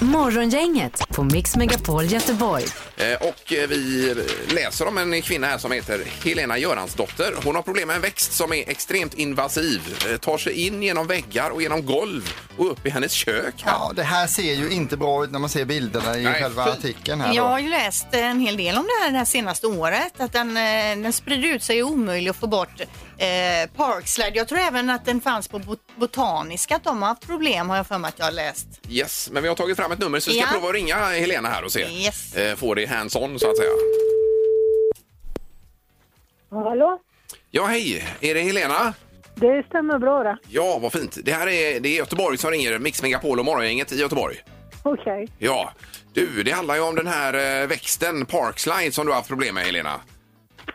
[SPEAKER 1] Morgongänget på Mix Megapol Göteborg.
[SPEAKER 2] Eh, Och eh, vi läser om en kvinna här som heter Helena Göransdotter. Hon har problem med en växt som är extremt invasiv. Eh, Tar sig in genom väggar och genom golv och upp i hennes kök.
[SPEAKER 12] Ja, det här ser ju inte bra ut när man ser bilderna i
[SPEAKER 2] Nej,
[SPEAKER 12] själva
[SPEAKER 2] fy.
[SPEAKER 12] artikeln här.
[SPEAKER 3] Jag
[SPEAKER 12] då.
[SPEAKER 3] har ju läst en hel del om det här det här senaste året. Att den, eh, den sprider ut sig och är omöjlig att få bort. Eh, Parkslide, jag tror även att den fanns på bot- Botaniska, att de har haft problem har jag för mig att jag har läst.
[SPEAKER 2] Yes, men vi har tagit fram ett nummer så vi ska
[SPEAKER 3] Ja.
[SPEAKER 2] prova att ringa Helena här och se.
[SPEAKER 3] Yes.
[SPEAKER 2] Eh, Få det hands-on så att säga.
[SPEAKER 13] Hallå?
[SPEAKER 2] Ja, hej! Är det Helena?
[SPEAKER 13] Det stämmer bra då.
[SPEAKER 2] Ja, vad fint. Det här är, det är Göteborg som ringer, Mix Megapol och Morgongänget i Göteborg.
[SPEAKER 13] Okej.
[SPEAKER 2] Ja, du, det handlar ju om den här eh, växten Parkslide som du har haft problem med Helena.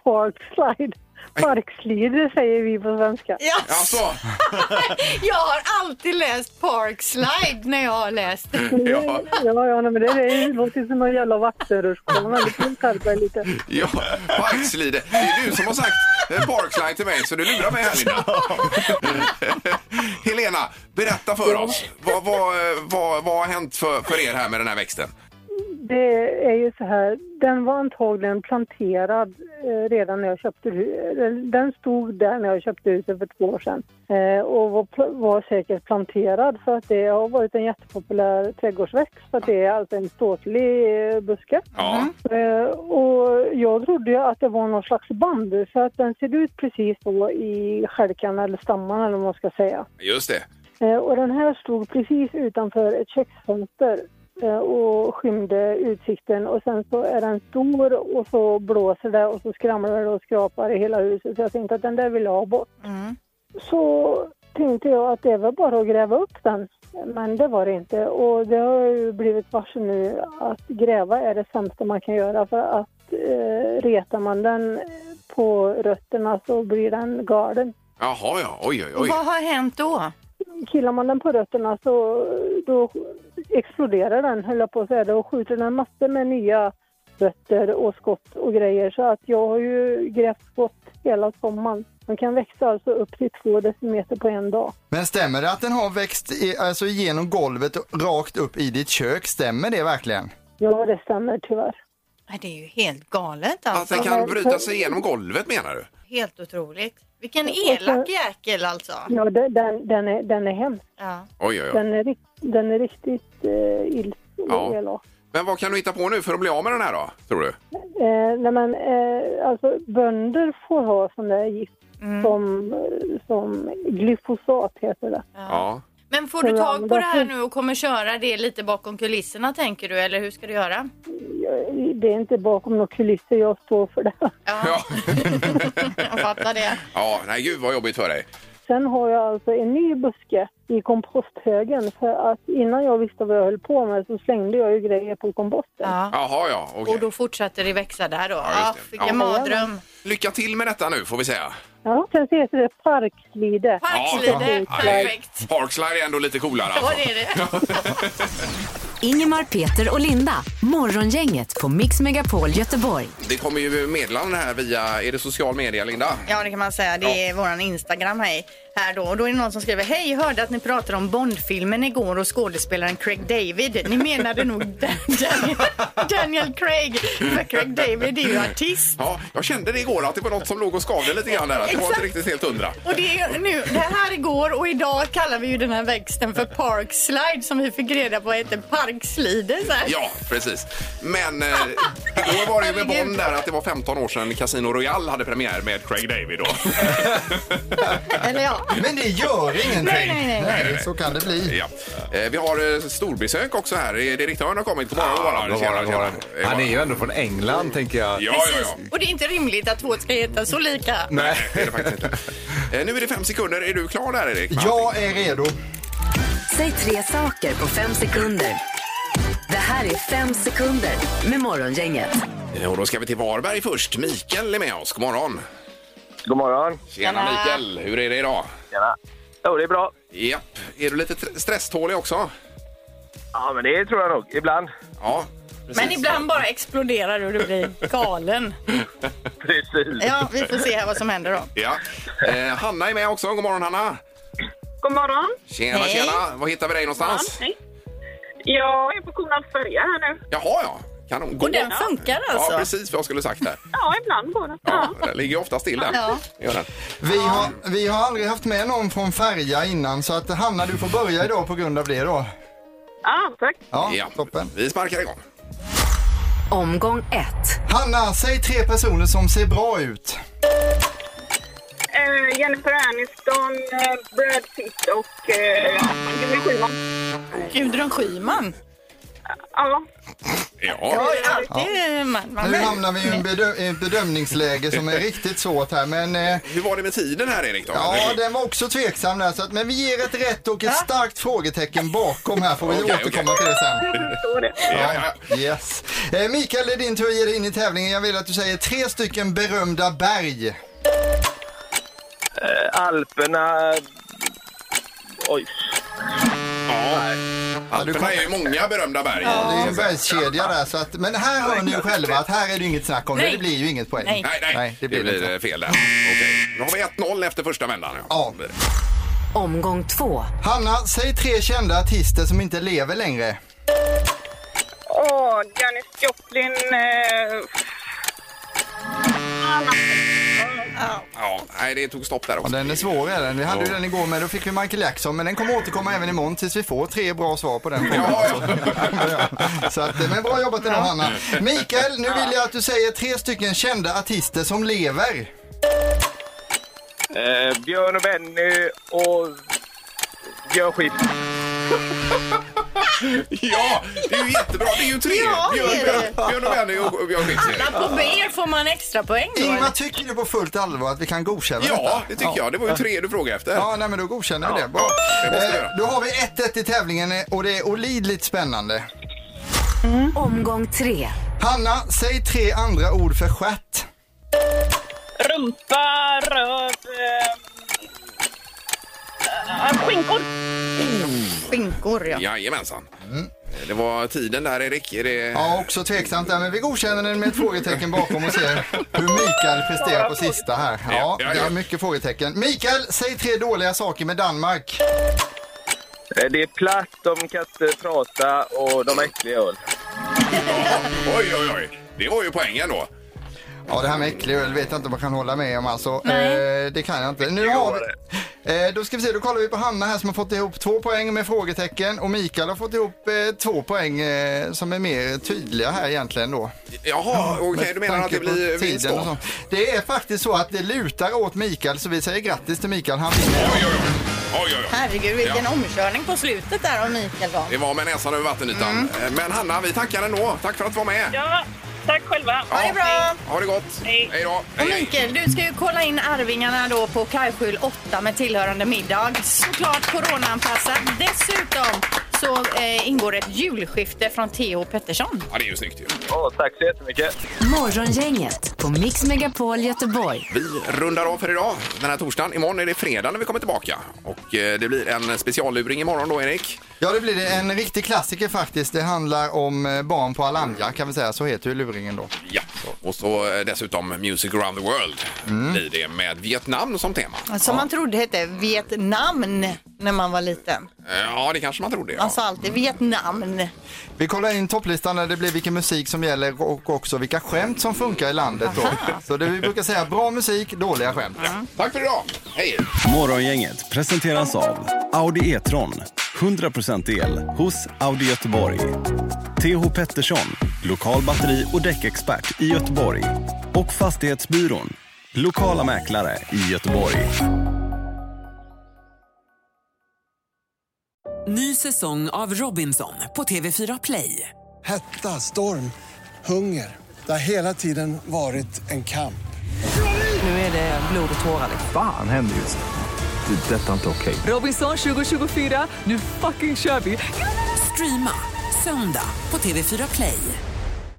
[SPEAKER 13] Parkslide. Sparkslide säger vi på svenska.
[SPEAKER 2] Alltså.
[SPEAKER 3] jag har alltid läst Parkslide när jag har läst.
[SPEAKER 2] Ja.
[SPEAKER 13] Ja, ja, nej, men det, är- det låter som någon jävla vattenrutschkana. Väldigt lugnt här, lite.
[SPEAKER 2] Ja, Parkslide. Det är du som har sagt eh, Parkslide till mig, så du lurar mig här Linda. Helena, berätta för oss. Vad, vad, eh, vad, vad har hänt för, för er här med den här växten?
[SPEAKER 13] Det är ju så här, den var antagligen planterad eh, redan när jag köpte huset. Den stod där när jag köpte huset för två år sedan. Eh, och var, pl- var säkert planterad för att det har varit en jättepopulär trädgårdsväxt. För att det är alltså en ståtlig eh, buske. Eh, och jag trodde ju att det var någon slags bambu för att den ser ut precis då i stjälkarna eller stammarna eller vad man ska säga.
[SPEAKER 2] Just det.
[SPEAKER 13] Eh, Och den här stod precis utanför ett köksfönster eh, och skymde utsikten. Och sen så är den stor och så blåser det och så skramlar det och skrapar i hela huset. Så jag tänkte att den där vill jag ha bort.
[SPEAKER 3] Mm.
[SPEAKER 13] Så tänkte jag att det var bara att gräva upp den. Men det var det inte. Och det har jag ju blivit varse nu att gräva är det sämsta man kan göra. För att eh, retar man den på rötterna så blir den galen.
[SPEAKER 2] Jaha, ja. Oj, oj,
[SPEAKER 3] Och
[SPEAKER 2] oj.
[SPEAKER 3] vad har hänt då?
[SPEAKER 13] Killar man den på rötterna så då exploderar den, höll jag på att säga, det, och skjuter den massor med nya rötter och skott och grejer. Så att jag har ju grävt skott hela sommaren. De kan växa alltså upp till två decimeter på en dag.
[SPEAKER 4] Men stämmer det att den har växt i, alltså genom golvet och rakt upp i ditt kök? Stämmer det verkligen?
[SPEAKER 13] Ja, det stämmer tyvärr.
[SPEAKER 3] Nej, Det är ju helt galet
[SPEAKER 2] Att
[SPEAKER 3] alltså.
[SPEAKER 2] den kan bryta sig igenom golvet menar du?
[SPEAKER 3] Helt otroligt. Vilken elak jäkel alltså.
[SPEAKER 13] Ja, de- den, den, är, den är hemsk.
[SPEAKER 3] Ja.
[SPEAKER 2] Oj, oj, oj.
[SPEAKER 13] Den är, rikt- den är riktigt eh, ilsken
[SPEAKER 2] Ja.
[SPEAKER 13] och elak.
[SPEAKER 2] Men vad kan du hitta på nu för att bli av med den här då, tror du?
[SPEAKER 13] Eh, nej men, eh, alltså, bönder får ha sån där gift som, som glyfosat heter det.
[SPEAKER 2] Ja.
[SPEAKER 3] Men får du tag på det här nu och kommer köra det lite bakom kulisserna tänker du eller hur ska du göra?
[SPEAKER 13] Jag- Det är inte bakom några kulisser jag står för det.
[SPEAKER 3] Jag fattar det.
[SPEAKER 2] Ja, nej gud vad jobbigt för dig.
[SPEAKER 13] Sen har jag alltså en ny buske i komposthögen för att innan jag visste vad jag höll på med så slängde jag ju grejer på komposten.
[SPEAKER 2] Jaha, ja. Okej.
[SPEAKER 3] Och då fortsätter det växa där då.
[SPEAKER 2] Ja,
[SPEAKER 3] Ja,
[SPEAKER 2] just det.
[SPEAKER 3] vilken
[SPEAKER 2] Ja.
[SPEAKER 3] mardröm.
[SPEAKER 2] Lycka till med detta nu får vi säga.
[SPEAKER 13] Ja, sen så heter det parkslide.
[SPEAKER 2] Ja. Nej, Parkslide är ändå lite coolare alltså.
[SPEAKER 1] Ja, det är det.
[SPEAKER 2] Ingemar,
[SPEAKER 1] Peter och Linda. Morgongänget på Mix Megapol Göteborg.
[SPEAKER 2] Det kommer ju meddelanden här via, är det social media Linda?
[SPEAKER 3] Ja, det kan man säga. Det är våran Instagram här, här då. Och då är det någon som skriver Hej, hörde att ni pratade om Bondfilmen igår och skådespelaren Craig David. Ni menade nog Daniel, Daniel Craig. För Craig David är ju artist.
[SPEAKER 2] Ja, jag kände det igår att det var något som låg och skavde lite grann där. Att det var inte
[SPEAKER 3] Exakt.
[SPEAKER 2] riktigt helt hundra.
[SPEAKER 3] Och det, är nu, det här igår och idag kallar vi ju den här växten för Parkslide som vi fick reda på heter Parkslide. Så här.
[SPEAKER 2] Ja, precis. Men eh, då var det ju med
[SPEAKER 3] Herregud.
[SPEAKER 2] Bond där att det var 15 år sedan Casino Royale hade premiär med Craig David då.
[SPEAKER 3] Eller ja.
[SPEAKER 4] Men det gör ingenting.
[SPEAKER 3] Nej, nej, nej.
[SPEAKER 4] så kan det bli.
[SPEAKER 2] Ja. Eh, Vi har eh, storbesök också här. Eh, Direktören har kommit. God morgon, god morgon.
[SPEAKER 14] god morgon, god morgon.
[SPEAKER 2] Tjena, tjena.
[SPEAKER 14] Han är ju ändå från England, tänker jag.
[SPEAKER 2] Ja, ja, ja.
[SPEAKER 3] Och det är inte rimligt att två ska heta så lika.
[SPEAKER 2] Nej, det är det faktiskt inte. Eh, Nu är det fem sekunder. Är du klar där, Erik?
[SPEAKER 4] Jag är redo.
[SPEAKER 1] Säg tre saker på fem sekunder. Det här är fem sekunder med Morgongänget.
[SPEAKER 2] Eh, Och då ska vi till Varberg först. Mikael är med oss. God morgon.
[SPEAKER 15] God morgon.
[SPEAKER 2] Tjena,
[SPEAKER 15] Tjena.
[SPEAKER 2] Mikael. Hur är det idag?
[SPEAKER 15] Tjena. Jo, det är bra.
[SPEAKER 2] Japp. Är du lite tr- stresstålig också?
[SPEAKER 15] Ja, men det tror jag nog. Ibland.
[SPEAKER 2] Ja,
[SPEAKER 3] Men ibland bara exploderar du och du blir galen.
[SPEAKER 2] precis.
[SPEAKER 3] Ja, vi får se här vad som händer då.
[SPEAKER 2] Ja. Eh, Hanna är med också. God morgon, Hanna.
[SPEAKER 16] God morgon.
[SPEAKER 2] Tjena,
[SPEAKER 16] Hej.
[SPEAKER 2] tjena. Var hittar vi dig någonstans?
[SPEAKER 16] Ja, hej. Jag är på Kornalls färja här nu.
[SPEAKER 2] Jaha, ja. Kanon. Går
[SPEAKER 16] den funkar alltså?
[SPEAKER 2] Ja, precis vad jag skulle sagt där.
[SPEAKER 16] Ja, ibland går det. Ja.
[SPEAKER 2] Den ligger ju ofta still där.
[SPEAKER 16] Ja.
[SPEAKER 2] Gör den.
[SPEAKER 4] Vi har, vi har aldrig haft med någon från Färja innan så att Hanna du får börja idag på grund av det då.
[SPEAKER 16] Ah, tack.
[SPEAKER 4] Ja,
[SPEAKER 2] toppen. Vi sparkar igång.
[SPEAKER 4] Omgång 1. Hanna, säg tre personer som ser bra ut.
[SPEAKER 16] Eh, Jennifer Aniston, eh, Brad Pitt och eh, Gudrun Schyman.
[SPEAKER 3] Gudrun Schyman?
[SPEAKER 16] Ja.
[SPEAKER 2] Ja.
[SPEAKER 3] alltid, man, man
[SPEAKER 4] Nu hamnar vi i en bedö- i ett bedömningsläge som är riktigt svårt här men... Eh,
[SPEAKER 2] Hur var det med tiden här, Erik? Då?
[SPEAKER 4] ja, den var också tveksam där, så att, men vi ger ett rätt och ett starkt frågetecken bakom här får vi
[SPEAKER 2] Okej,
[SPEAKER 4] återkomma
[SPEAKER 2] okej.
[SPEAKER 4] till det sen.
[SPEAKER 2] Ja,
[SPEAKER 4] Ja, yes. Eh, Mikael, det är din tur att ge dig in i tävlingen. Jag vill att du säger tre stycken berömda berg.
[SPEAKER 15] Eh, Alperna... Oj.
[SPEAKER 2] Ja. Alperna är ju många berömda berg.
[SPEAKER 4] Ja, det är en bergskedja där. Så att, men här hör ni ju själva att här är det inget snack om det.
[SPEAKER 2] Nej.
[SPEAKER 4] Det blir ju inget poäng.
[SPEAKER 2] Nej, nej, det blir,
[SPEAKER 4] inte.
[SPEAKER 2] eh, fel där. Okej. Nu har vi 1-0 efter första vändan. Ja.
[SPEAKER 1] Omgång två.
[SPEAKER 4] Hanna, säg tre kända artister som inte lever längre.
[SPEAKER 16] Åh, Janis Joplin... Eh...
[SPEAKER 2] Ja, nej, det tog stopp där också.
[SPEAKER 4] Den är svår är den. Vi hade ju den igår men då fick vi Michael Jackson. Men den kommer återkomma även imorgon tills vi får tre bra svar på den frågan. Så- Så att, eh, men bra jobbat idag Hanna. Mikael, nu vill jag att du säger tre stycken kända artister som lever.
[SPEAKER 15] Eh, Björn och Benny och... Björn Skifs.
[SPEAKER 2] ja, det är ju jättebra. Det är ju tre.
[SPEAKER 8] Ja, det
[SPEAKER 2] Björn,
[SPEAKER 8] är
[SPEAKER 2] Björn,
[SPEAKER 8] det.
[SPEAKER 2] Björn och Benny och och Björn Skifs.
[SPEAKER 8] Alla på B får man extra poäng då.
[SPEAKER 4] Ingvar, tycker du på fullt allvar att vi kan godkänna
[SPEAKER 2] Ja,
[SPEAKER 4] detta?
[SPEAKER 2] det tycker jag. Det var ju tre du frågade efter.
[SPEAKER 4] Ja, nej men då godkänner vi det. Bra.
[SPEAKER 2] det måste vi
[SPEAKER 4] Eh,
[SPEAKER 2] göra.
[SPEAKER 4] Då har vi 1-1 i tävlingen eh, och det är olidligt spännande.
[SPEAKER 1] Omgång tre.
[SPEAKER 4] Hanna, säg tre andra ord för stjärt.
[SPEAKER 16] Rumpa, röv... Eh... eh, Skinkor!
[SPEAKER 3] Skinkor, ja.
[SPEAKER 2] Jajamensan. Det var tiden där, Erik. Är det...
[SPEAKER 4] Mm. Ja, också tveksamt där, men vi godkänner den med ett frågetecken bakom och ser hur Mikael presterar på sista här. Ja, det är mycket frågetecken. Mikael, säg tre dåliga saker med Danmark.
[SPEAKER 15] Eh, Det är platt, de kan inte prata och de har äcklig öl.
[SPEAKER 2] Oj, oj, oj. Det var ju poängen då.
[SPEAKER 4] Ja, det här med äcklig öl vet jag inte om jag kan hålla med om alltså. Eh, det kan jag inte. Nu har vi... Eh, då ska vi se, då kollar vi på Hanna här som har fått ihop två poäng med frågetecken och Mikael har fått ihop eh, två poäng eh, som är mer tydliga här egentligen då.
[SPEAKER 2] Jaha, okej.
[SPEAKER 4] Med
[SPEAKER 2] du menar att
[SPEAKER 4] tanke
[SPEAKER 2] det
[SPEAKER 4] på
[SPEAKER 2] blir
[SPEAKER 4] tiden
[SPEAKER 2] vinst
[SPEAKER 4] och
[SPEAKER 2] då?
[SPEAKER 4] sånt. Det är faktiskt så att det lutar åt Mikael så vi säger grattis till Mikael. Han vinner.
[SPEAKER 2] Oj, oj, oj.
[SPEAKER 3] Herregud, vilken
[SPEAKER 2] Ja.
[SPEAKER 3] omkörning på slutet där av Mikael då.
[SPEAKER 2] Det var med näsan över vattenytan. Eh,
[SPEAKER 4] Mm.
[SPEAKER 2] Men Hanna, vi tackar ändå. Tack för att du var med.
[SPEAKER 3] Ja, tack själva. Ha det bra.
[SPEAKER 2] Ha det gott. Hej, då.
[SPEAKER 3] Och Mikael, du ska ju kolla in Arvingarna då på Kajskjul 8 med tillhörande middag. Såklart coronaanpassat. Dessutom så eh, ingår ett julskifte från Theo Pettersson.
[SPEAKER 2] Ja, det är ju snyggt ju.
[SPEAKER 15] tack så jättemycket.
[SPEAKER 1] Morgongänget på Mix Megapol Göteborg.
[SPEAKER 2] Vi rundar av för idag, den här torsdagen. Imorgon är det fredag när vi kommer tillbaka. Och eh, det blir en specialluring imorgon då, Erik.
[SPEAKER 4] Ja, det blir det. En riktig klassiker faktiskt. Det handlar om eh, barn på Alanya kan vi säga. Så heter ju luringen då.
[SPEAKER 2] Ja, och så eh, dessutom Music around the world blir det med Vietnam som tema.
[SPEAKER 3] Som man trodde hette Vietnam när man var liten.
[SPEAKER 2] Eh, Ja, det kanske man trodde.
[SPEAKER 3] Man
[SPEAKER 2] Ja.
[SPEAKER 3] sa alltid Vietnam.
[SPEAKER 4] Vi kollar in topplistan där det blir vilken musik som gäller och också vilka skämt som funkar i landet då. Så det vi brukar säga bra musik, dåliga skämt.
[SPEAKER 2] Tack för idag! Hej!
[SPEAKER 17] Morgongänget presenteras av Audi E-tron. 100% el hos Audi Göteborg. TH Pettersson, lokal batteri och däckexpert i Göteborg. Och Fastighetsbyrån, lokala mäklare i Göteborg.
[SPEAKER 18] Ny säsong av Robinson på TV4 Play.
[SPEAKER 19] Hetta, storm, hunger. Det har hela tiden varit en kamp.
[SPEAKER 18] Nu är det blod och tårar.
[SPEAKER 20] Fan händer just nu. Det. är Detta är inte okej.
[SPEAKER 18] Robinson 2024, nu fucking kör vi! Streama söndag på TV4 Play.